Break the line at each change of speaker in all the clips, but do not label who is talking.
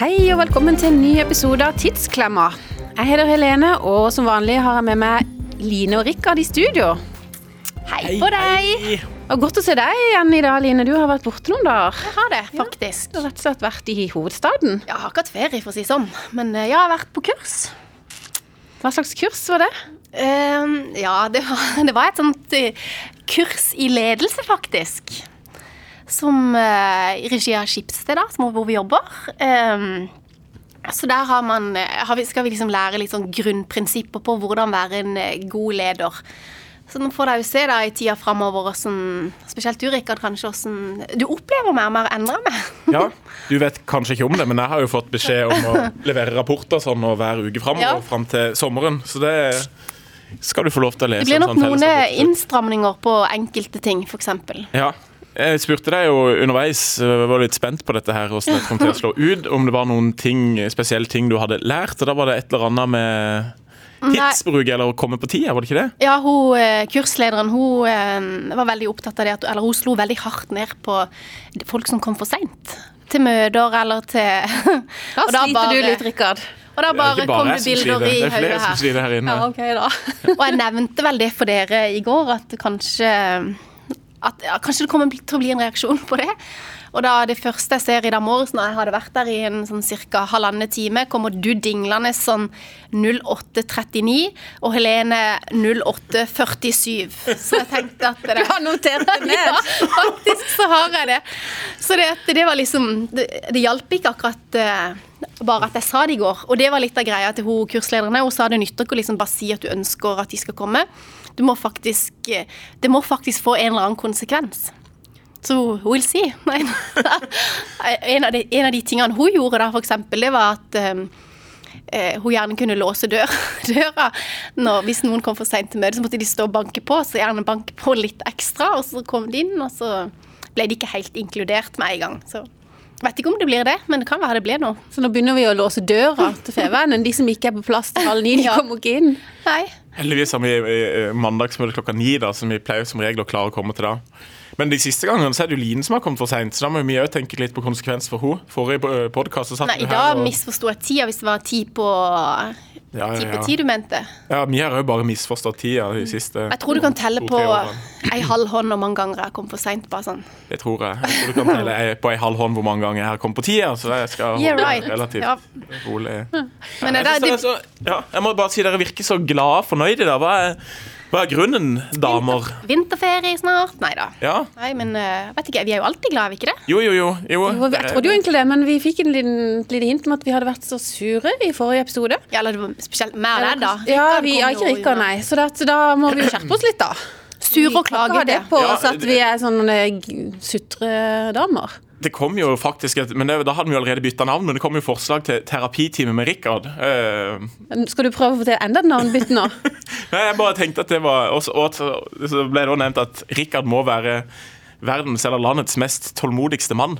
Hei og velkommen til en ny episode av Tidsklemma. Jeg heter Helene, og som vanlig har jeg med meg Line og Rikard i studio. Hei, på deg! Og godt å se deg igjen i dag, Line. Du har vært borte noen dager.
Jeg har det, faktisk.
Du har rett og slett vært i hovedstaden.
Jeg har ikke hatt ferie, for å si sånn, men eh, jeg har vært på kurs.
Hva slags kurs var det?
Ehm, ja, det var, det var et sånt eh, kurs i ledelse, faktisk. Som eh, i regi av Skipsted, da, som, hvor vi jobber. Ehm, så der har man, eh, har vi, skal vi liksom lære litt sånn grunnprinsipper på hvordan være en eh, god leder. Så nå får dere jo se da i tida framover åssen Spesielt du, Rikard, kanskje åssen Du opplever mer og mer endrer meg.
Ja, Du vet kanskje ikke om det, men jeg har jo fått beskjed om å levere rapporter sånn og hver uke framover
Ja.
og fram til sommeren. Så det skal du få lov til å lese.
Det blir
en
nok
sånn
noen eh,
fellesrapport.
innstramninger på enkelte ting, f.eks.
Ja. Jeg spurte deg jo underveis, jeg var litt spent på dette her, hvordan det kom til å slå ut, om det var noen ting, spesielle ting du hadde lært. Og da var det et eller annet med tidsbruk eller å komme på tida, var det ikke det?
Ja, hun, eh, kurslederen hun eh, var veldig opptatt av det at Eller hun slo veldig hardt ned på folk som kom for seint. Til møter eller til
Da
og da
sliter
bare-
du litt, Rikard.
Og da
Det er
bare,
ikke bare
kom
jeg
det
som sliter,
bilder i
det er flere
høyre
som
her.
sliter her inne.
ok, da.
Og jeg nevnte vel det for dere i går, at kanskje at, ja, Kanskje det kommer til å bli en reaksjon på det. Og da det første jeg ser i dag morges, når jeg hadde vært der i en sånn ca. halvannen time, kommer du dinglende sånn 08.39 og Helene 08.47. Så jeg tenkte at det
Du har notert det ned.
ja, faktisk så har jeg det. Så det, at det var liksom Det, det hjalp ikke akkurat eh, bare at jeg sa det i går. Og det var litt av greia til hun kurslederne. Hun sa det nytter ikke å liksom bare si at du ønsker at de skal komme. Du må faktisk eh, Det må faktisk få en eller annen konsekvens. Så we'll see. Nei, en, av de, en av de tingene hun gjorde da, for eksempel, det var at eh, eh, hun gjerne kunne låse dør, døra. Når, hvis noen kom for seint til møtet, så måtte de stå og banke på, så gjerne banke på litt ekstra. Og så kom de inn, og så ble de ikke helt inkludert med en gang. Så jeg vet ikke om det blir det, men det kan være det blir noe.
Så nå begynner vi å låse døra til Fevennen. De som ikke er på plass til halv ni, de
Ja.
kommer ikke inn.
Nei.
Heldigvis har vi eh, mandagsmøte klokka ni, da, som vi pleier som regel å klare å komme til da. Men de siste gangene så er det jo Line som har kommet for seint, så da må vi òg tenke litt på konsekvens for henne. Forrige podkast satt
Nei,
hun
I dag
og-
misforsto jeg tida, hvis det var ti på
ja,
ti, på
ja,
ti
ja.
du mente.
ja, vi har òg bare misforstått tida de siste
Jeg tror du kan telle
to,
på
tre årene.
ei halv hånd hvor mange ganger jeg kom for seint. Bare sånn.
Det tror jeg. Jeg tror du kan telle ei- på ei halv hånd hvor mange ganger jeg har kommet på tida, så jeg skal holde
Yeah,
meg
right.
relativt
Ja. Hm.
rolig.
Men eh, det,
Jeg,
det,
synes dere er så- ja, jeg må bare si dere virker så glade og fornøyde, da. Hva er, hva er grunnen, damer?
Vinterferie snart? Nei da.
Ja.
Nei, men eh, vet ikke, vi er jo alltid glad, er vi ikke det?
Jo, jo, jo. jo.
Jo, Jeg trodde jo egentlig det, men vi fikk en liten, et lite hint om at vi hadde vært så sure i forrige episode.
Ja, eller det var spesielt mer der, da.
Ja,
Rikard
vi er
kom jo
ikke Rikard,
unna.
nei. Så da, så da må vi jo skjerpe oss litt, da.
Sur og
Vi kan ikke ha det
klagete.
på
Ja,
oss at
det-
vi er sånne g- sutredamer.
Det kom jo faktisk et, men det, Da hadde vi jo allerede bytta navn, men det kom jo forslag til terapitime med Rikard. Eh,
Skal du prøve å få til enda et navnbytte nå?
nei, jeg bare tenkte at det var også, Og at, så ble det også nevnt at Rikard må være verdens eller landets mest tålmodigste mann.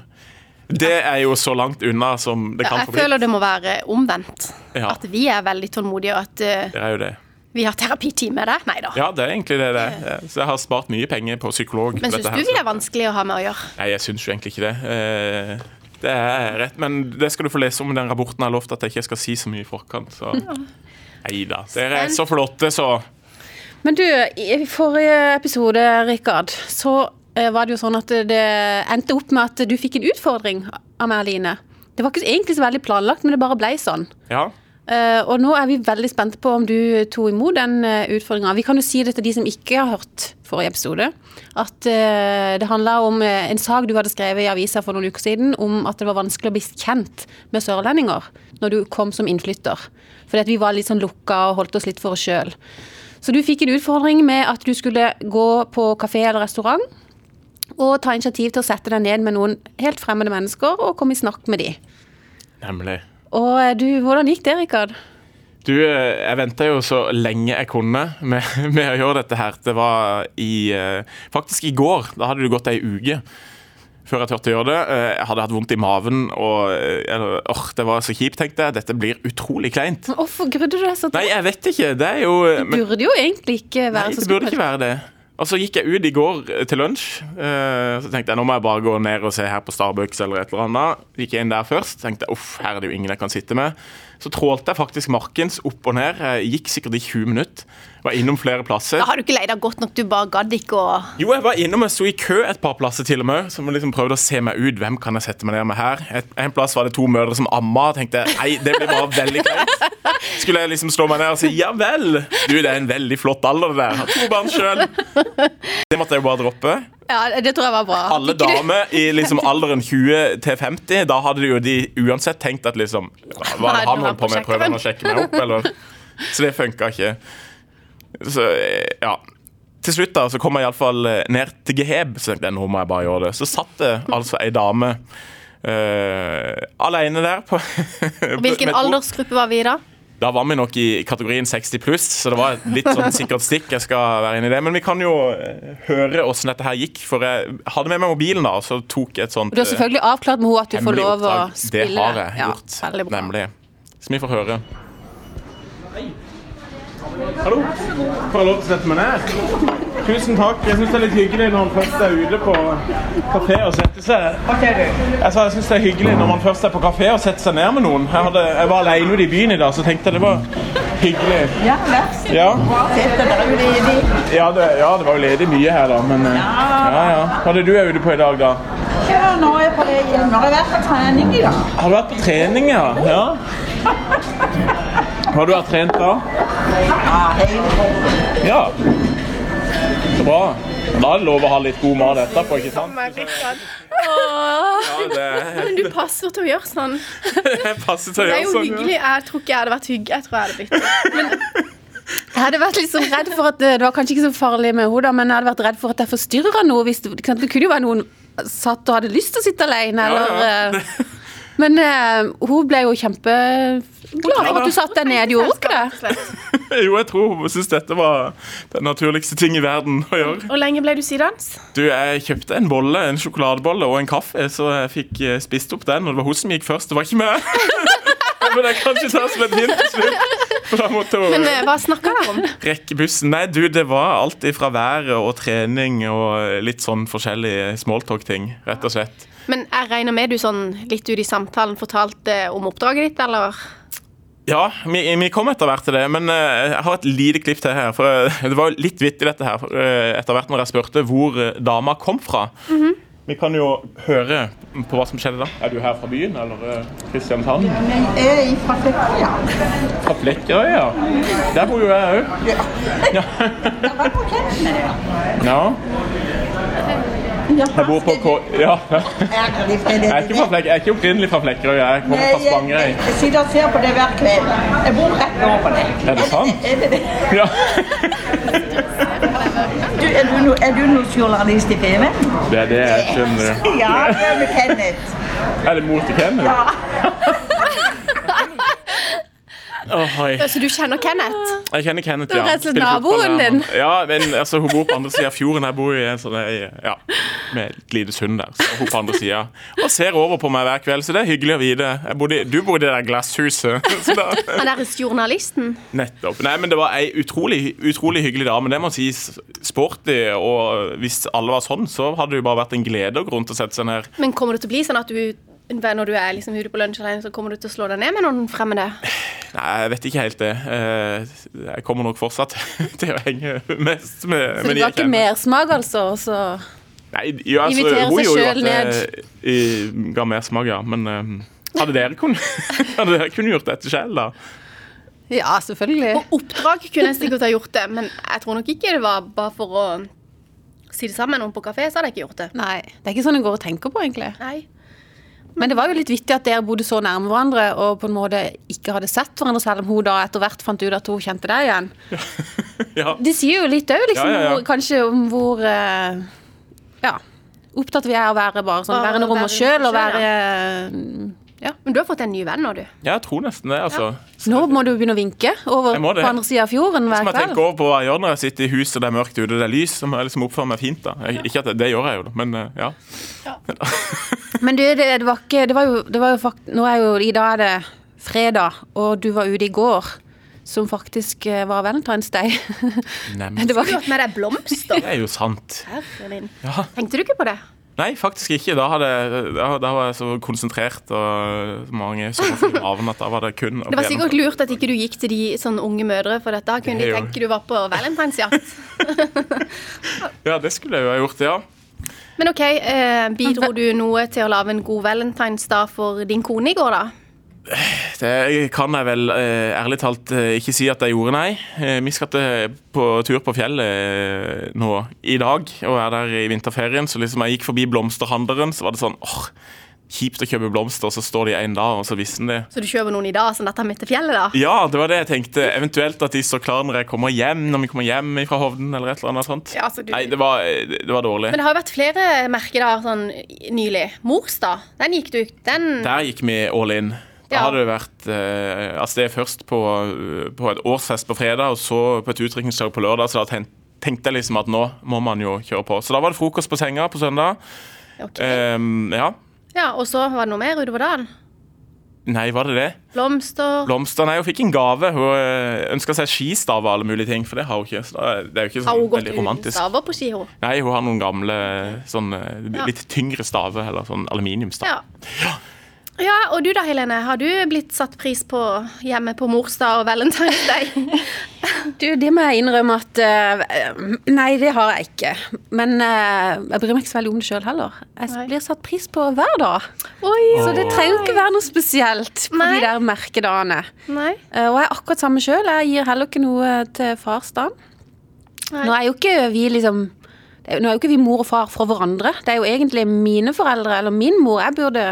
Det er jo så langt unna som det kan
Jeg
få bli.
føler det må være omvendt.
Ja.
At vi er veldig tålmodige, og at eh,
Det er jo det.
vi har terapitime der. Nei da.
Ja, det er egentlig det det er. Så jeg har spart mye penger på psykolog. på
Men
dette
syns
her,
du vi
så-
er vanskelig å ha med å gjøre?
Nei, jeg syns jo egentlig ikke det. Eh, Det er rett, men det skal du få lese om i den rapporten jeg har lovt at jeg ikke skal si så mye i forkant. Så. Nei da. Dere er så flotte, så.
Men du, i forrige episode, Rikard, så eh, var det jo sånn at det endte opp med at du fikk en utfordring av meg, Line. Det var ikke egentlig så veldig planlagt, men det bare blei sånn.
Ja.
Eh, og nå er vi veldig spente på om du tok imot den uh, utfordringa. Vi kan jo si det til de som ikke har hørt forrige episode, at eh, det handla om eh, en sak du hadde skrevet i avisa for noen uker siden om at det var vanskelig å bli kjent med sørlendinger når du kom som innflytter. Fordi at vi var litt sånn lukka og holdt oss litt for oss sjøl. Så du fikk en utfordring med at du skulle gå på kafé eller restaurant og ta initiativ til å sette deg ned med noen helt fremmede mennesker og komme i snakk med de.
Nemlig.
Og eh, du, hvordan gikk det, Rikard?
Du, eh, jeg venta jo så lenge jeg kunne med, med å gjøre dette her. Det var i eh, Faktisk i går. Da hadde det gått ei uke før jeg turte å gjøre det. Eh, Jeg hadde hatt vondt i maven og eh, eller, åh, Det var så kjipt, tenkte jeg. Dette blir utrolig kleint.
Men Hvorfor grudde du deg så til?
Nei, jeg vet ikke. Det er jo eh, men,
burde jo egentlig ikke være
Nei,
så
det burde
skummelt.
ikke være det. Og så gikk jeg ut i går eh, til lunsj. eh, Så tenkte jeg nå må jeg bare gå ned og se her på Starbucks eller et eller annet. Gikk jeg inn der først. Tenkte jeg, uff, her er det jo ingen jeg kan sitte med. Så trålte jeg faktisk markens opp og ned. Jeg gikk sikkert i 20 minutter. Var innom flere plasser.
Da har du ikke leid deg godt nok, du bare gadd ikke å
Jo, jeg var innom, jeg sto i kø et par plasser til og med, som liksom prøvde å se meg ut. Hvem kan jeg sette meg ned med her? Et, en plass var det to mødre som amma, og tenkte jeg, nei, det blir bare veldig kleint. Skulle jeg liksom slå meg ned og si ja vel? Du, det er en veldig flott alder, det der. Har to barn sjøl. Det måtte jeg jo bare droppe.
Ja, det tror jeg var bra.
Alle damer i liksom alderen 20 til 50, da hadde jo de uansett tenkt at liksom Hva er det han holdt på med? Prøver han å sjekke meg opp, eller? Så det funka ikke. Så eh, ja. Til slutt da, så kom jeg iallfall eh, ned til Geheb. Så tenkte jeg, nå må jeg bare gjøre det. Så satt det altså ei dame eh, alene der på med
Hvilken
et bord.
aldersgruppe var vi i da?
Da var vi nok i kategorien 60 pluss, så det var et litt sånn sikkert stikk. jeg skal være inne i det. Men vi kan jo eh, høre åssen dette her gikk, for jeg hadde med meg mobilen da, og så tok jeg et sånt
Du har selvfølgelig avklart med henne at du
eh,
får
hemmelig
lov å
oppdrag.
spille.
Det har jeg
Ja,
gjort,
veldig bra.
nemlig. Så vi får høre. Hallo. Får jeg lov til å sette meg ned? Tusen takk. Jeg syns det er litt hyggelig når man først er ute på kafé og setter seg. Jeg sa jeg syns det er hyggelig når man først er på kafé og setter seg ned med noen. Jeg, hadde, jeg var alene ute i byen i dag, så tenkte jeg det var hyggelig.
Ja, vær så
Ja,
bra. Dette var jo ledig.
ja, det, ja det var jo ledig mye her, da, men eh, ja, ja. Hva er det du er ute på i dag, da?
Ja, nå er jeg på vei hjem. Nå har jeg vært på trening i dag.
Har du vært på trening, ja? ja. Har du vært trent da?
Ja, helt bra.
Ja. Så bra. Da er det lov å ha litt god mat etterpå, ikke sant?
Åh,
Ja, det
men du passer til å gjøre sånn.
passer til å
Det er
gjøre
jo
sånn.
hyggelig. Jeg tror ikke jeg hadde vært hyggelig. Jeg tror jeg hadde blitt det.
Jeg hadde vært litt sånn redd for at eh, Det var kanskje ikke så farlig med henne, da, men jeg hadde vært redd for at jeg forstyrra noe. Hvis det, ikke sant? det kunne jo være noen satt og hadde lyst til å sitte alene,
Ja,
eller
ja.
eh, Men eh, hun ble jo kjempeglad for at du satt deg ned. Gjorde hun ikke det?
Jo, jeg tror hun syns dette var den naturligste ting i verden å gjøre.
Hvor lenge ble du sidans?
Du, Jeg kjøpte en bolle, en sjokoladebolle og en kaffe, så jeg fikk eh, spist opp den. Og det var hun som gikk først, det var ikke meg. Men jeg kan ikke ta som et hint til slutt. For da måtte hun
Men eh, hva snakka dere om?
rekke bussen. Nei, du, det var alt ifra været og trening og litt sånn forskjellige smalltalk-ting, rett og slett.
Men jeg regner med du sånn litt ut i samtalen fortalte eh, om oppdraget ditt, eller?
Ja, vi, vi kom etter hvert til det, men eh, jeg har et lite klipp til her. For eh, det var jo litt vittig, dette her, for, eh, etter hvert når jeg spurte hvor eh, dama kom fra. Vi kan jo høre på hva som skjedde da. Mhm. Er du her fra byen, eller eh, Kristiansand?
Men jeg er fra Flekkøya.
Fra Flekkerøy, ja. Der bor jo jeg òg.
Jeg var på kjent med det.
Ja. Jeg bor på K... Ja.
Jeg er ikke
Jeg er ikke, fra Flek jeg er ikke opprinnelig fra Flekkerøy, jeg kommer fra Spangereid.
Jeg sitter og ser på det hver kveld. Jeg bor rett over det.
Er det sant?
Er det det?
Ja.
Du, er du, no, er du noe journalist i TV?
Det Sånn er det jeg skjønner.
Ja, det er med Kenneth.
Er det mor til Kenneth?
Ja.
Åh, hei.
Så du kjenner Kenneth?
Jeg kjenner Kenneth,
Du
ja.
er rett og slett
Spiller fotball
naboen
der,
din.
men- Ja, men altså, hun bor på andre siden av fjorden. Jeg bor i en sånn ei- ja, med et lite sund der. Så hun på andre siden. Og ser over på meg hver kveld, så det er hyggelig å vite. Jeg bodde, i- du bor i det der glasshuset. Så da,
Han derre journalisten?
nettopp. Nei, men det var ei utrolig, utrolig hyggelig dame. Det må sies sporty, og hvis alle var sånn, så hadde det jo bare vært en glede og grunn til å sette seg ned.
Men kommer det til å bli sånn at du når du er liksom ute på lunsj alene, så kommer du til å slå deg ned med noen fremmede?
Nei, jeg vet ikke helt det. Eh, Jeg kommer nok fortsatt til å henge mest med,
Så det
med de
var
jeg
ikke
kjenner.
mersmak, altså? Så.
Nei, jo, altså,
Invitere
hun
seg
gjorde jo
selv
at det i- ga mersmak, ja. Men eh, hadde, dere kun, hadde dere kun gjort dette selv, da?
Ja, selvfølgelig.
Oppdrag kunne jeg sikkert ha gjort det, men jeg tror nok ikke det var bare for å si det sammen med noen på kafé, så hadde jeg ikke gjort det.
Nei, Det er ikke sånn en går og tenker på, egentlig.
Nei.
Men det var jo litt vittig at dere bodde så nærme hverandre og på en måte ikke hadde sett hverandre, selv om hun da etter hvert fant ut at hun kjente deg igjen.
Ja.
Det sier jo litt òg, liksom,
Ja, ja, ja.
hvor- kanskje om hvor eh, Ja. Opptatt vi er av å være bare sånn,
Bare
være noe om
være
oss sjøl og
oss selv,
være ja.
Men du har fått en ny venn nå, du.
Ja, jeg tror nesten det, altså.
Nå må du begynne å vinke over
Jeg må
på
det.
andre sida av fjorden
Så
hver
må jeg tenke
kveld.
over på hva jeg gjør når jeg sitter i huset, det er mørkt ute, det er lys. Så må jeg liksom oppføre meg fint, da. Jeg, ikke at det, det gjør jeg jo, da, men eh, ja.
Men du, det, det var ikke Det var jo, det var jo fakt... Nå er jo I dag er det fredag, og du var ute i går. som faktisk eh, var Valentine's Day.
Nemlig.
det var
Du har hatt med deg blomster.
Det er jo sant.
Herre min.
Ja.
Tenkte du ikke på det?
Nei, faktisk ikke. Da, hadde, da, da var jeg så konsentrert og mange sommerfugler av at da var det kun å
Det var
bli
sikkert lurt at ikke du gikk til de sånne unge mødre, for dette da kunne
Det
de
er jo-
tenke du var på valentinsjakt.
gjennomført. Ja, det skulle jeg jo ha gjort, ja.
Men OK, eh, bidro du noe til å lage en god valentinsdag for din kone i går, da?
Det kan jeg vel eh, ærlig talt eh, ikke si at jeg gjorde, nei. Eh, vi skal til på tur på fjellet eh, nå i dag og er der i vinterferien. Så liksom jeg gikk forbi blomsterhandleren, så var det sånn åh, kjipt å kjøpe blomster, så står de en dag, og så visste de.
Så du kjøper noen i dag som dette midt til fjellet, da?
Ja, det var det jeg tenkte. Eventuelt at de står klar når jeg kommer hjem, når vi kommer hjem fra Hovden eller et eller annet sånt.
Ja, altså, du-
Nei, det var, det var dårlig.
Men det har jo vært flere merkedager sånn nylig. Morsdag, den gikk du Den
Der gikk vi all in. Da
Mm. Ja.
hadde det vært eh, av sted først på, eh, på et årsfest på fredag, og så på et utdrikningslag på lørdag, så da ten- tenkte jeg liksom at nå må man jo kjøre på. Så da var det frokost på senga på søndag.
Ok.
Ehm, ja.
Ja, og så var det noe mer utover dagen.
Nei, var det det?
Blomster.
Blomster? Nei, hun fikk en gave. Hun ønska seg skistav og alle mulige ting, for det har hun ikke. Så da, er- det er jo ikke
Har
sånn
hun gått
veldig
uten
romantisk.
staver på ski, hun?
Nei, hun har noen gamle sånn eh,
Ja.
litt tyngre staver, eller sånn aluminiumstav.
Ja. Ja, og du da, Helene. Har du blitt satt pris på hjemme på morsdag og Valentine's Day?
Du, det må jeg innrømme at eh, Nei, det har jeg ikke. Men eh, jeg bryr meg ikke så veldig om det sjøl heller. Jeg
Nei.
blir satt pris på hver dag.
Oi,
Så det trenger jo ikke være noe spesielt på
Nei.
de der merkedagene.
Nei.
Eh, Og jeg er akkurat samme sjøl. Jeg gir heller ikke noe eh, til farsdagen.
Nei.
Nå er jo ikke vi liksom det er jo- Nå er jo ikke vi mor og far for hverandre. Det er jo egentlig mine foreldre eller min mor jeg burde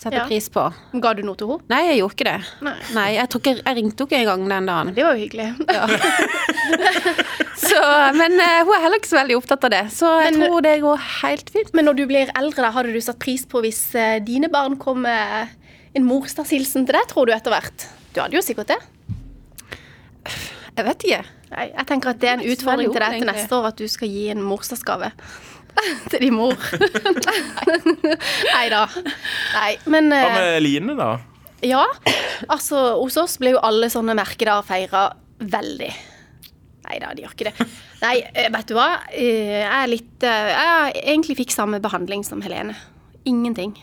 sette
Ja.
pris på.
Ga du noe til henne?
Nei, jeg gjorde ikke det.
Nei.
jeg, tror ikke, jeg ringte jo ikke engang den dagen.
Det var jo hyggelig.
Så, men eh, hun er heller ikke så veldig opptatt av det. Så jeg
Men-
tror det går helt fint.
Men når du blir eldre, da, hadde du satt pris på hvis eh, dine barn kom med en morsdagshilsen til deg, tror du, etter hvert? Du hadde jo sikkert det.
Jeg vet ikke.
Nei, jeg tenker at det er en
Det er ikke så veldig
utfordring til deg
ord,
til
egentlig.
neste år at du skal gi en morsdagsgave til din mor. Nei da. Nei, men
Hva
eh,
med Line, da?
Ja, altså hos oss ble jo alle sånne merkedager feira veldig. Nei da, de gjør ikke det. Nei, eh, vet du hva? Eh, Jeg er litt eh, Jeg egentlig fikk samme behandling som Helene. Ingenting.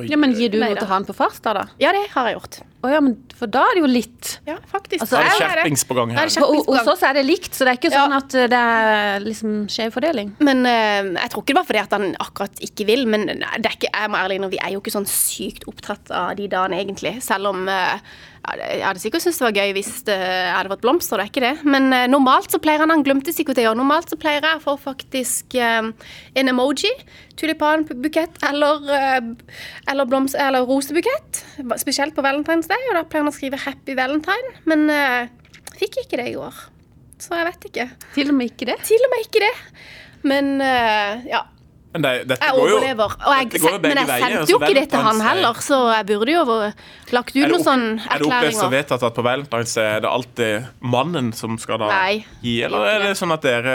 Oi.
Ja, men Gir du
Nei
noe
da.
til han på farsdag, da?
Ja, det har jeg gjort.
Å ja, men for da er det jo litt.
Ja, faktisk.
Altså,
Da er
Ja, det er
det
det.
skjerpings på gang
Da er
her.
det
For hos-
skjerpings på
Hos
gang.
oss er det likt, så det er ikke
Ja.
sånn at eh, det er liksom skjev fordeling.
Men eh, jeg tror ikke det var fordi at han akkurat ikke vil. Men det er ikke, jeg må ærlig innrømme, vi er jo ikke sånn sykt opptatt av de dagene, egentlig. Selv om eh, ja, det- jeg hadde sikkert syntes det var gøy hvis det hadde vært blomster, det er ikke det. Men eh, normalt så pleier han Han glemte sikkert det, og normalt så pleier jeg å få faktisk eh, en emoji. Tulipanbukett eller, eh, eller, blomst, eller rosebukett. Spesielt på Valentine's Day, og da pleier han å skrive 'Happy Valentine'. Men eh, fikk ikke det i år. Så jeg vet ikke.
Til og med ikke det.
Til og med ikke det. Men eh, ja.
Men det, dette
Jeg
går jo-
overlever. Og jeg,
dette går jo
men jeg
begge veier,
sendte
altså,
jo ikke det til han
Valentine's Day-
heller, så jeg burde jo ha lagt ut
Er det
noen
opp-
sånne
Er det opplevd og
erklæringer.
vedtatt at på Valentine's Day er det alltid mannen som skal da
Nei.
gi, eller er det sånn at dere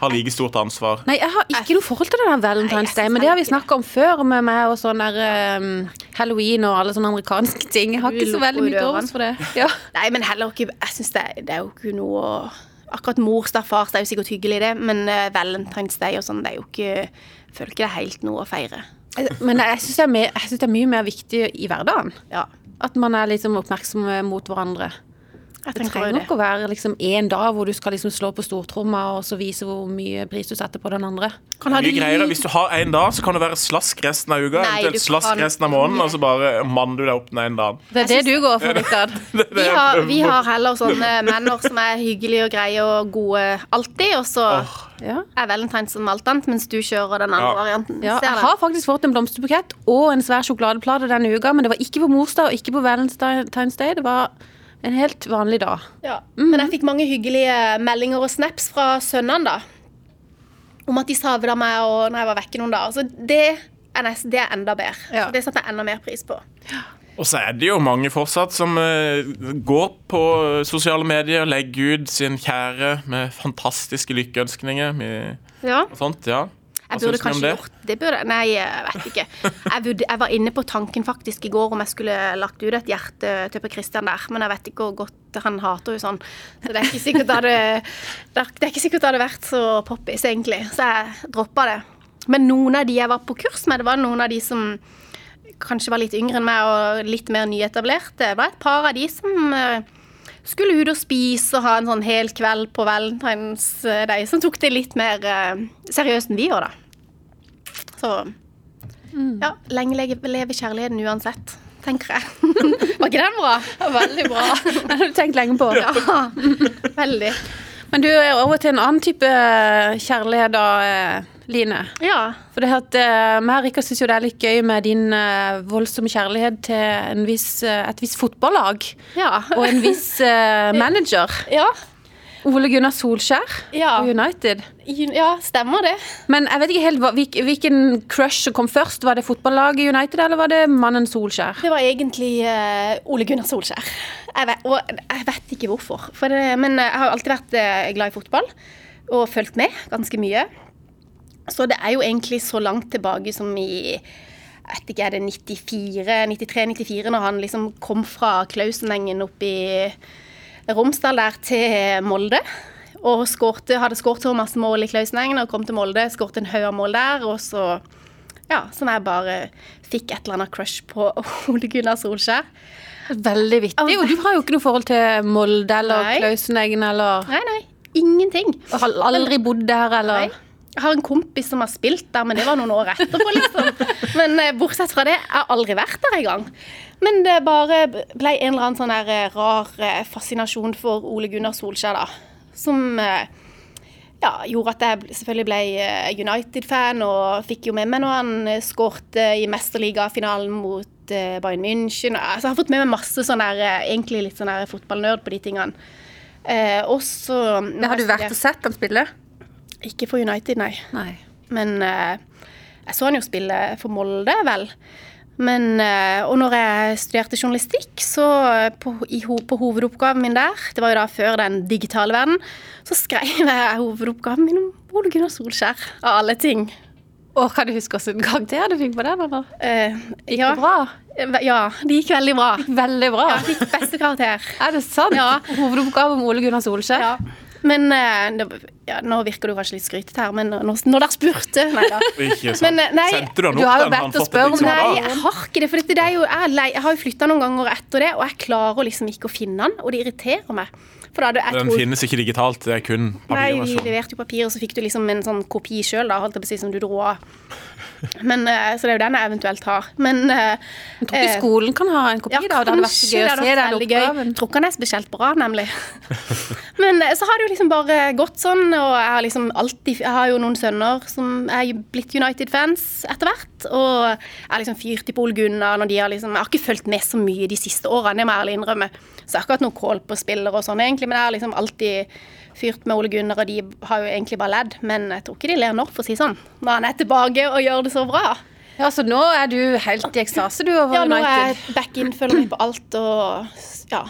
har like stort ansvar?
Nei, jeg har ikke noe forhold til det der Valentine's
Nei,
Day,
jeg synes
men det har vi
heller ikke
snakka om før med meg og sånn der eh, halloween og alle sånne amerikanske ting. Jeg har
Du
ikke så
lukker
veldig mye
døren.
til overs for det. Ja.
Nei, men heller ikke Jeg synes det, det er jo ikke noe å- Akkurat morsdag, farsdag er jo sikkert hyggelig, det, men eh, Valentine's Day og sånn, det er jo ikke jeg Føler ikke det er helt noe å feire.
Men jeg syns det, er mer- jeg synes det er mye mer viktig i hverdagen.
Ja.
At man er liksom oppmerksom mot hverandre.
Jeg
Det
tenker
trenger
jo det.
nok å være liksom en dag hvor du skal liksom slå på stortromma og så vise hvor mye pris du setter på den andre.
Kan ha
Mye
det
greier.
litt-
Hvis du har én dag, så kan det være slask resten av uka.
Nei, du
Eventuelt slask
kan
resten av måneden, og så bare manner du deg opp den ene dagen.
Det er det du går for, Rikard.
Det er det
Vi
jeg
har,
prøver
vi
på.
har heller sånne menner som er hyggelige og greie og gode alltid, og så
Åh.
Ja.
er Valentine's som alt annet, mens du kjører den andre
Ja.
varianten.
Ja,
Ser
jeg
det.
har faktisk fått en blomsterbukett og en svær sjokoladeplate denne uka, men det var ikke på morsdag og ikke på Valentine's Day. Det var en helt vanlig dag.
Ja. Men jeg fikk mange hyggelige meldinger og snaps fra sønnene, da. Om at de savna meg og når jeg var vekke noen dager. Så det er, nest, det er enda bedre.
Ja.
Så det setter jeg enda mer pris på.
Og så er det jo mange fortsatt som eh, går på sosiale medier, legger ut sin kjære med fantastiske lykkeønskninger. Med,
Ja.
og sånt, ja. Hva
Jeg
syns
burde
du om
kanskje
det?
gjort det burde, Nei, jeg vet ikke. Jeg, burde, jeg var inne på tanken faktisk i går om jeg skulle lagt ut et hjerte til Per Christian der, men jeg vet ikke hvor godt han hater jo sånn. Så det er ikke sikkert det hadde, det er- det er ikke sikkert det hadde vært så poppis, egentlig. Så jeg droppa det. Men noen av de jeg var på kurs med, det var noen av de som kanskje var litt yngre enn meg og litt mer nyetablerte. Det var et par av de som eh, skulle ut og spise og ha en sånn hel kveld på Valentine's Day, som tok det litt mer eh, seriøst enn vi gjør, da. Så ja, lenge leve, leve kjærligheten uansett, tenker jeg. Var ikke den bra? Veldig bra.
Den har du tenkt lenge på.
Ja, veldig.
Men du er over til en annen type kjærlighet da, eh, Line.
Ja.
For det at eh, meg og Rikard syns jo det er litt gøy med din eh, voldsomme kjærlighet til en viss, eh, et visst fotballag
Ja.
og en viss eh, manager.
ja.
Ole Gunnar Solskjær
Ja.
og United.
Ja, stemmer det.
Men jeg vet ikke helt hva, hvil- hvilken crush som kom først. Var det fotballaget i United, eller var det mannen Solskjær?
Det var egentlig eh, Ole Gunnar Solskjær. Jeg vet, og jeg vet ikke hvorfor. For det, men jeg har alltid vært eh, glad i fotball og fulgt med ganske mye. Så det er jo egentlig så langt tilbake som i jeg vet ikke, er det 94, 93-94, når han liksom kom fra Klausenengen opp i Romsdal der til Molde. Og skårte, hadde skåret så masse mål i Klausenengen og kom til Molde, skåret en haug av mål der. Og så ja, som jeg bare fikk et eller annet crush på Ole Gunnar Solskjær.
Veldig vittig. Og du har jo ikke noe forhold til Molde eller
Nei.
Klauseneggen eller
Nei, nei, ingenting.
og har Aldri bodd der eller
Nei. Jeg har en kompis som har spilt der, men det var noen år etterpå, liksom. Men eh, bortsett fra det, jeg har aldri vært der engang. Men det bare ble en eller annen sånn der eh, rar eh, fascinasjon for Ole Gunnar Solskjær, da. Som eh, ja, gjorde at jeg selvfølgelig ble eh, United-fan, og fikk jo med meg når han eh, skårte i mesterligafinalen mot eh, Bayern München. Altså, jeg har fått med meg masse sånn der, eh, egentlig litt sånn der fotballnerd på de tingene. Eh, og så altså,
Det har du vært og sett han spille?
Ikke for United, nei.
Nei.
Men eh, jeg så han jo spille for Molde, vel. Men, eh, og når jeg studerte journalistikk, så eh, på, i, ho- på hovedoppgaven min der, det var jo da før den digitale verden, så skrev jeg hovedoppgaven min om Ole Gunnar Solskjær, av alle ting.
Og kan du huske hvilken karakter du fikk på den? eller?
Eh,
Gikk
ja,
det
Eh,
bra?
Ja, det gikk veldig bra.
Veldig bra.
Jeg fikk beste karakter.
Er det sant?
Ja.
Hovedoppgave om Ole Gunnar Solskjær?
Ja. Men eh, det, ja, nå virker du kanskje litt skrytete her, men når, når dere spurte Nei da.
Ikke sant.
Men, eh, nei,
Sendte du han
du
opp
har jo
den?
bedt
han
oss
fått et
spørre om
liksom
det.
Nei,
da?
jeg har ikke det. For dette, det er jo, jeg, er lei, jeg har jo flytta noen ganger etter det, og jeg klarer liksom ikke å finne den, og det irriterer meg. For da hadde jeg
Den
tror-
finnes ikke digitalt, det er kun
Nei, vi
papirversjon.
leverte jo papir, og så fikk du liksom en sånn kopi sjøl, da, holdt jeg på å si, som du dro av. Men, eh, så det er jo den jeg eventuelt har. Men eh,
Jeg tror ikke skolen kan ha en kopi,
ja,
da. og Det hadde vært så
kanskje
gøy å
hadde
se
vært
den
veldig gøy.
oppgaven.
Tror ikke han er spesielt bra, nemlig. Men eh, så har det jo liksom bare gått sånn, og jeg har liksom alltid Jeg har jo noen sønner som er jo blitt United-fans etter hvert, og jeg har liksom fyrt i Pol Gunnar når de har liksom Jeg har ikke fulgt med så mye de siste årene, det må jeg ærlig innrømme. Så jeg har ikke hatt noe kål på spillere og sånn, egentlig, men jeg har liksom alltid fyrt med Ole Gunnar, og de har jo egentlig bare ledd, men jeg tror ikke de ler nå, for å si det sånn, når han er tilbake og gjør det så bra.
Ja, så nå er du helt i ekstase, du, over
Ja, nå er jeg
United.
back in, følger med på alt og ja,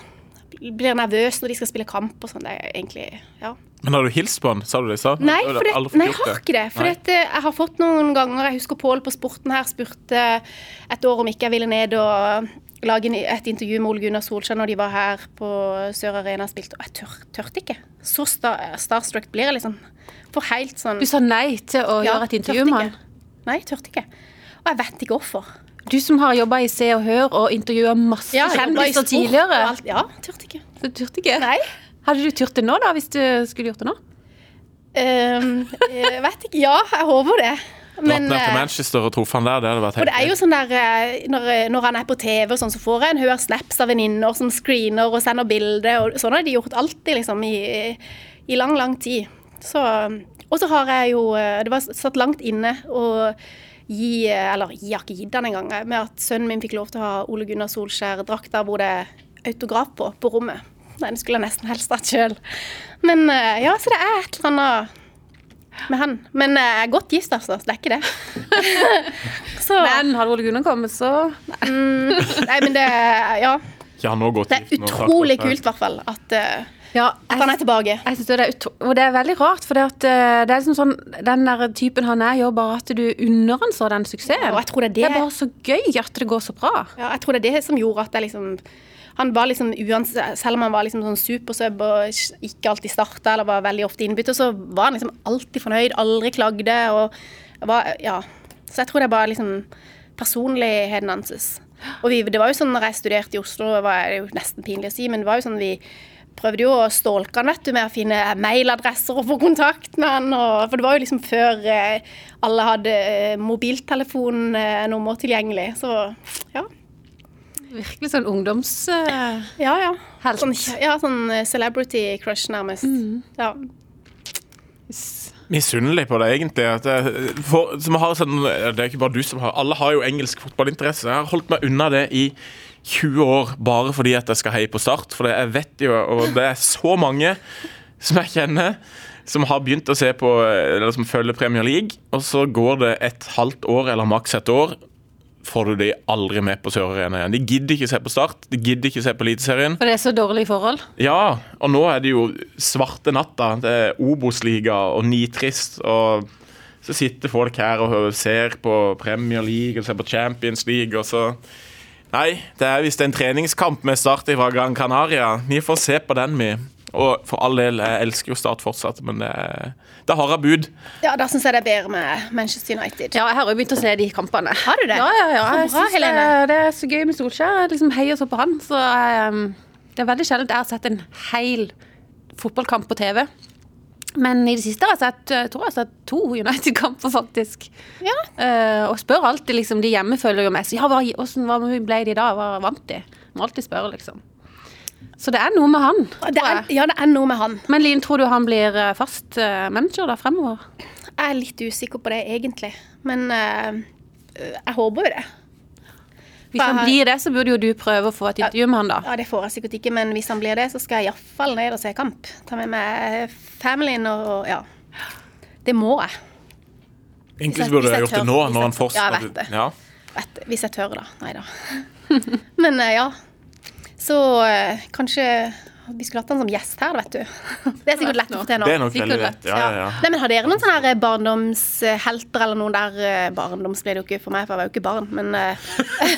blir nervøs når de skal spille kamp og sånn. Det er egentlig ja.
Men har du hilst på han, sa du det? Sa?
Nei,
Du hadde
for det,
aldri fått
nei, jeg
gjort
har ikke det. For
Nei.
dette, jeg har fått noen ganger Jeg husker Pål på Sporten her spurte et år om ikke jeg ville ned og lage en- et intervju med Ole Gunnar Solskjær når de var her på Sør Arena og spilte, og jeg tør, tørte ikke. Så sta, starstruck blir jeg liksom. For helt sånn
Du sa nei til å
Ja,
gjøre et
tørte
intervju med han.
ikke. Nei, tørte ikke. Og jeg vet ikke hvorfor.
Du som har jobba i Se og Hør og intervjua masse
jeg jobbet i
kjendiser
sport og
tidligere.
alt. Ja, tørte ikke.
Du turte ikke?
Nei.
Hadde du turt det nå, da, hvis du skulle gjort det nå?
Ehm, jeg vet ikke. Ja, jeg håper det.
Dratt
Men,
ned til
eh,
Manchester og truffet han der, det hadde vært
og
helt
det er jo sånn der eh, når, når han er på TV, og sånn, så får jeg en hør snaps av venninner som screener og sender bilder. Og sånn har de gjort alltid liksom, i, i lang, lang tid. Så, og så har jeg jo eh, Det var satt langt inne å gi eh, Eller jeg har ikke gitt den engang. jeg, Med at sønnen min fikk lov til å ha Ole Gunnar Solskjær-drakta hvor det er autograf på, på rommet. Nei, den skulle jeg nesten helst hatt sjøl. Men eh, ja, så det er et eller annet med han. Men eh, jeg er godt gift, altså. Så det er ikke det. så
Men hadde Ole Gunnar kommet, så
Nei, men det Ja.
Ja, nå går
Det er
tiden, nå snakker vi
utrolig
om det.
kult, i hvert fall. At eh,
Ja,
At han er tilbake.
Jeg synes det, er utro og det er veldig rart, for det, at, eh, det er liksom sånn, den der typen han er, gjør bare at du unner han så den suksessen.
Og jeg tror det er
Det
det,
er bare så gøy at det går så bra.
ja, jeg tror det, er det som gjorde at jeg liksom han var liksom, uans- Selv om han var liksom sånn supersub og ikke alltid starta eller var veldig ofte innbytter, så var han liksom alltid fornøyd, aldri klagde. og var, ja. Så jeg tror det er bare liksom personligheten hans. Og vi, det var jo sånn når jeg studerte i Oslo, var det jo nesten pinlig å si, men det var jo sånn vi prøvde jo å stalke han vet du, med å finne mailadresser og få kontakt med han. Og, for det var jo liksom før eh, alle hadde eh, mobiltelefonnummer tilgjengelig. Så ja.
Virkelig sånn ungdoms... eh,
Ja, ja.
Helt.
Sånn, Mm. ja, sånn eh, celebrity crush, nærmest. Ja.
Misunnelig på det, egentlig. At jeg, for, som har sånn, det er ikke bare du som har Alle har jo engelsk fotballinteresse. Jeg har holdt meg unna det i 20 år bare fordi at jeg skal heie på Start. For det, jeg vet jo, og det er så mange som jeg kjenner, som har begynt å se på Eller som følger Premier League, og så går det et halvt år eller maks et år. Får du de aldri med på Sør-Arena igjen. De gidder ikke se på Start, de gidder ikke se på Eliteserien.
For det er så dårlige forhold.
Ja, og nå er det jo svarte natta. Det er Obos-liga og nitrist. Og så sitter folk her og hø- ser på Premier League og ser på Champions League, og så Nei, det er visst en treningskamp med start fra Gran Canaria. Vi får se på den, vi. Og for all del, jeg elsker jo Start fortsatt, men det er, det er harde bud.
ja, da syns jeg det er bedre med Manchester United.
Ja, jeg har jo begynt å se de kampene. Har
du det?
Ja, ja, ja.
Så
Jeg
bra,
synes det,
Helene.
det er så gøy med Solskjær. Jeg liksom heier så på han. Så eh, det er veldig sjeldent jeg har sett en hel fotballkamp på TV. Men i det siste har jeg sett eh, tror jeg har sett to United-kamper, faktisk.
Ja.
Eh, og spør alltid liksom, de hjemme følger jo mest. Ja, hva, hvordan, hva ble de da? Hva vant de? Må alltid spørre, liksom. Så det er noe med han.
Det er, ja, det er noe med han.
Men Lien, tror du han blir eh, fast eh, manager da fremover?
Jeg er litt usikker på det, egentlig. Men eh, jeg håper jo det.
Hvis han
Hva-
blir det, så burde jo du prøve å få et intervju med han, da.
Ja, Det får jeg sikkert ikke, men hvis han blir det, så skal jeg iallfall ned og se kamp. Ta med meg familien og Ja. Det må jeg.
Egentlig
Hvis jeg-
så burde
hvis
jeg
jeg
gjort det
tør-
nå,
hvis jeg
når han
tør. Ja, jeg
fortsatt
vet det.
ja.
Vet, hvis jeg tør, da. Nei da. Men eh, ja. Så eh, kanskje vi skulle hatt han som gjest her, vet du. Det er sikkert lett å få til nå.
Det er nok
Sikkert
veldig
rett,
lett. Ja, ja, ja.
Nei, men Har dere noen sånne her barndomshelter eller noen der eh, Barndoms ble det jo ikke for meg, for jeg var jo ikke barn, men eh,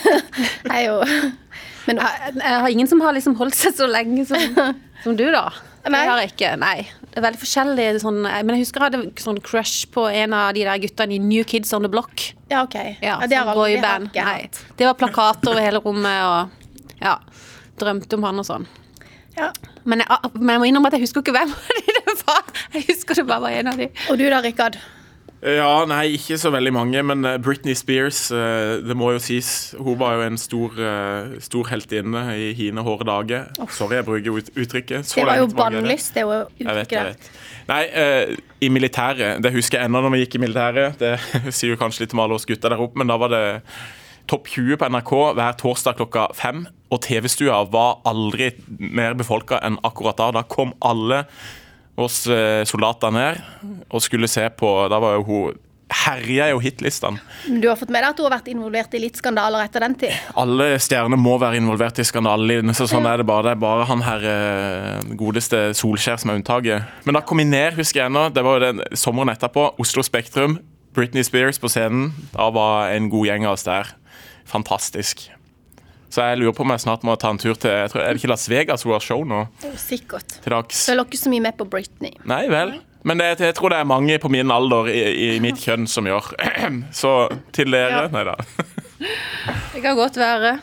jeg er jo Men eh,
Jeg jeg har ingen som har liksom holdt seg så lenge som, som du, da.
Nei.
Det har jeg ikke. Nei. Det er veldig forskjellig. Sånn, jeg- men jeg husker jeg hadde sånn crush på en av de der guttene i New Kids On The Block.
ja, OK. Ja,
sånn
det har aldri det har
boyband.
ikke jeg
Nei.
hatt.
Det var plakater over hele rommet og ja, drømte om han og sånn.
Ja.
Men jeg, ah, men jeg må innrømme at jeg husker ikke hvem av de det var. Jeg husker det bare var en av de.
Og du da, Rikard?
Ja, nei, ikke så veldig mange, men eh, Britney Spears, eh, det må jo sies. Hun var jo en stor, eh, stor heltinne i hine hårde dager. Sorry, jeg bruker ut uttrykket. Så
Det var jo
lenge tilbake er det.
bannlyst. Det er jo
Jeg vet, jeg
utgreit.
vet. Nei, eh, i militæret, det husker jeg ennå når vi gikk i militæret. Det sier jo kanskje litt om alle oss gutter der oppe, men da var det Topp 20 på NRK hver torsdag klokka fem. Og TV-stua var aldri mer befolka enn akkurat da. Da kom alle oss eh, soldater ned og skulle se på Da var jo hun Herja jo hitlistene.
Men Du har fått med deg at du har vært involvert i litt skandaler etter den tid?
Alle stjerner må være involvert i skandalene, så sånn er det bare. Det er bare han her eh, godeste Solskjær som er unntaket. Men da kom vi ned, husker jeg ennå. Det var jo den sommeren etterpå. Oslo Spektrum. Britney Spears på scenen. Da var en god gjeng av oss der. Fantastisk. Så jeg lurer på om jeg snart må ta en tur til jeg tror, Er det ikke Las Vegas hun har show nå?
Det er jo Sikkert.
Til dags?
Følger ikke så mye med på Britney.
Nei vel. Men det, jeg tror det er mange på min alder i, i mitt kjønn som gjør. Så til dere
Ja.
Nei da.
Det kan godt være.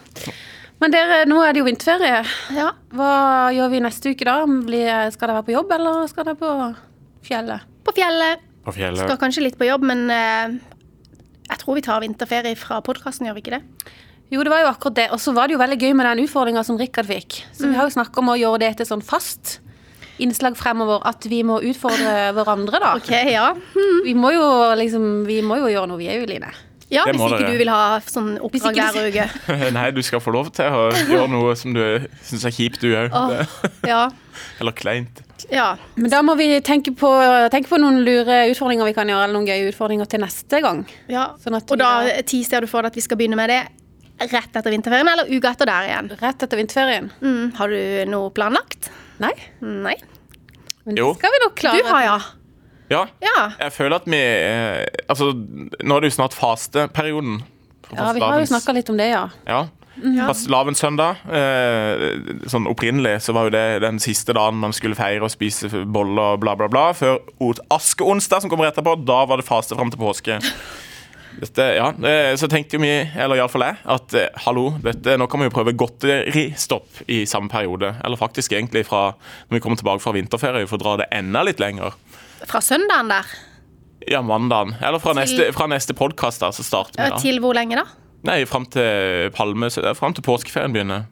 Men dere, nå er det jo vinterferie.
Ja.
Hva gjør vi neste uke da? Blir, skal dere være på jobb, eller skal dere på fjellet?
På fjellet.
På fjellet.
Skal kanskje litt på jobb, men eh, jeg tror vi tar vinterferie fra podkasten, gjør vi ikke det?
Jo, det var jo akkurat det. Og så var det jo veldig gøy med den utfordringa som Rikard fikk. Så vi har jo snakka om å gjøre det til sånn fast innslag fremover, at vi må utfordre hverandre, da.
Ok, ja.
Vi må jo liksom Vi må jo gjøre noe, vi er jo, Line.
Ja,
Det
Hvis
må
ikke
dere.
du vil ha sånn
Hvis
oppdrag
ikke du-
hver uke.
Nei, du skal få lov til å gjøre noe som du syns er kjipt, du òg.
Åh, ja.
Eller kleint.
ja.
Men da må vi tenke på, tenke på noen lure utfordringer vi kan gjøre, eller noen gøye utfordringer til neste gang.
ja.
Sånn at vi
Og da
da-
teaser du for deg at vi skal begynne med det rett etter vinterferien, eller uka etter der igjen.
Mm. Rett etter vinterferien.
Mm, har du noe planlagt?
Nei,
Nei.
men
Jo.
det skal vi nok klare.
Du har, ja.
Ja.
Ja.
Jeg føler at vi eh, Altså, nå er det jo snart fasteperioden.
Ja, vi har jo
Fastelavns-
snakka litt om det, ja.
Ja. Fastelavnssøndag. Eh, sånn opprinnelig så var jo det den siste dagen man skulle feire og spise boller og bla, bla, bla. Før ot- askeonsdag, som kommer etterpå, da var det faste fram til påske. Dette, ja, eh, Så tenkte jo vi, eller iallfall jeg, at eh, hallo, dette, nå kan vi jo prøve godteristopp i samme periode. Eller faktisk egentlig fra når vi kommer tilbake fra vinterferie, for å dra det enda litt lenger.
Fra søndagen der
Ja, mandagen. Eller fra neste, fra neste podkast, da, så starter vi da.
til hvor lenge da?
Nei, fram til Palme så- eh, Fram til påskeferien begynner.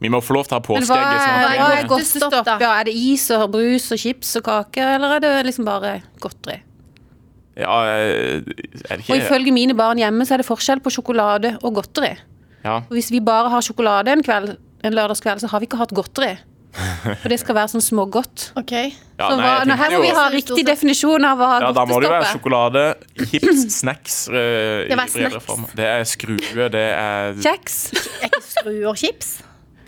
Vi må få lov til å ha sånn
Men hva
påskeegg.
er,
Nei,
hva
godt
er godtestopp,
stopp, da.
da? Er det is og brus og chips og kaker, eller er det liksom bare godteri?
Ja, eh, er det
Og
ikke
ifølge mine barn hjemme så er det forskjell på sjokolade og godteri.
ja.
Og hvis vi bare har sjokolade en kveld, en lørdagskveld, så har vi ikke hatt godteri. For det skal være sånn smågodt.
Ok.
Ja,
så
nei,
hva,
jeg
nå, her
tenkte
må vi
jo-
ha riktig definisjon av hva
ja, da må det
godtestopp
jo være
er.
sjokolade, chips, snacks eh, i
Det var
bredere
snacks.
form. Det er skrue, det er
Kjeks.
Er ikke skruer chips?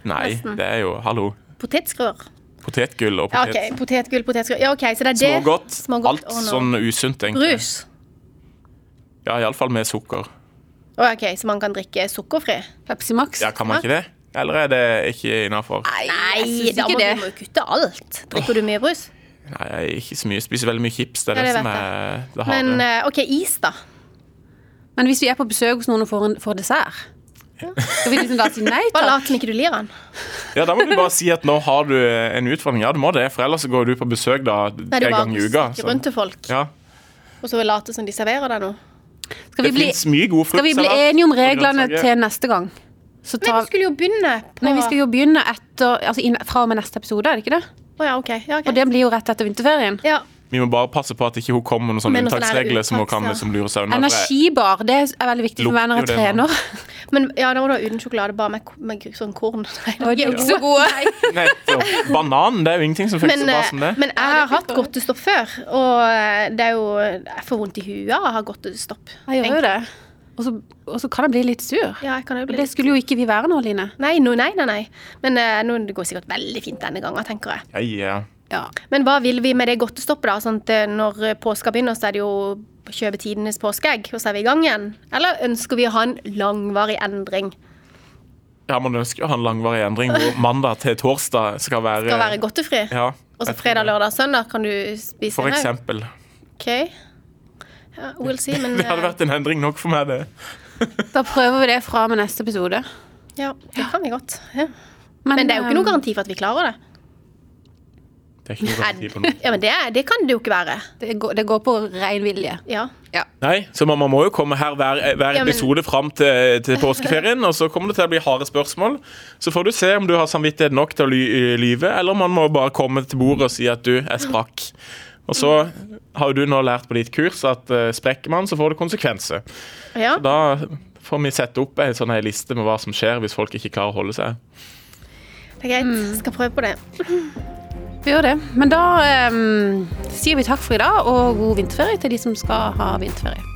Nei, det er jo Hallo.
Potetskruer?
Potetgull og
Ja,
potet.
ok. Potetgull, potetskruer. Ja, ok, så det er det.
Smågodt.
Smågodt,
Alt
å, nå.
sånn usunt, egentlig.
Brus.
Ja, iallfall med sukker.
Å, ok, så man kan drikke sukkerfri?
Pepsi Max.
Ja, Kan man ikke det? Eller er det ikke innafor?
jeg
Nei,
synes
da
ikke
må
det.
du må jo kutte alt. Drikker du mye brus?
Nei, jeg er ikke så mye. Spiser veldig mye chips. Det er
Ja,
det,
det
som
vet
er det harde.
Men eh, OK, is, da.
Men hvis vi er på besøk hos noen og får, en, får dessert, skal vi liksom da si nei
Bare
takk?
lat som ikke du lir den.
Ja, Da må du bare si at nå har du eh, en utfordring. Ja, du må det, for ellers så går du på besøk da
Nei, du
en gang i
bare
uka.
stikker
sånn.
rundt til folk,
Ja.
og så late som de serverer deg noe.
Skal
Det
vi bli,
fins mye god frukt.
skal vi bli
salat
enige om
og
reglene
grønnsaker.
til neste gang? Så
Nei,
tar,
vi skulle jo begynne på
nei, vi skal jo begynne etter, altså inn, fra og med neste episode, er det ikke det?
Å, ja, OK. Ja, ok.
Og det blir jo rett etter vinterferien.
ja.
Vi må bare passe på at ikke hun kommer med noen sånne
Med noen sånne her
unntaksregler som hun kan
unntaksregler.
som lurer seg unna. for jeg-
Energibar, det er veldig viktig for meg når jeg
Lukter jo det nå.
trener.
Men ja, da må du ha uten sjokolade, bare med, med sånn korn. Nei,
Og de er
det er
jo
jo
ikke så gode.
Nettopp. Banan, det er jo ingenting som funker
Men,
så bra som
eh,
det.
men jeg har hatt godtestopp før, og eh, det er jo Jeg får vondt i huet av å ha godtestopp.
Jeg gjør jo
egentlig.
det. Og så, og så kan jeg bli litt sur.
Ja, jeg kan jo
Og
bli
det skulle jo ikke vi være nå, Line.
Nei, nå- nei, nei, nei. Men eh, nå, det går sikkert veldig fint denne gangen, tenker jeg.
Ja, ja.
Ja.
Men hva vil vi med det godtestoppet, da? Sånn at eh, når påska begynner, så er det jo kjøpe tidenes påskeegg, og så er vi i gang igjen? Eller ønsker vi å ha en langvarig endring?
ja, man ønsker jo å ha en langvarig endring hvor mandag til torsdag skal være,
Skal være godtefri?
Ja,
Og så
jeg tror
fredag,
det.
lørdag, eh, søndag kan du spise
For
en haug?
eksempel.
OK. Ja, we'll see, men
Det hadde
eh,
vært en endring nok for meg, det.
Da prøver vi det fra med neste episode.
Ja, det kan vi godt. Ja. Men det er jo
eh,
ikke noen garanti for at vi klarer det.
Det er ikke noe garanti på noe.
Ja, men det, er- det kan det jo ikke være.
Det går, det går på ren vilje.
Ja.
Nei, så man, man må jo komme her hver, hver
Ja, men-
episode fram til, til påskeferien, og så kommer det til å bli harde spørsmål. Så får du se om du har samvittighet nok til å ly lyve, eller om man må bare komme til bordet og si at du er sprakk. Og så har jo du nå lært på ditt kurs at eh, sprekker man, så får det konsekvenser.
ja.
Da får vi sette opp ei sånn her liste med hva som skjer hvis folk ikke klarer å holde seg.
Det er greit. Skal prøve på det.
Vi gjør det. Men da eh, sier vi takk for i dag, og god vinterferie til de som skal ha vinterferie.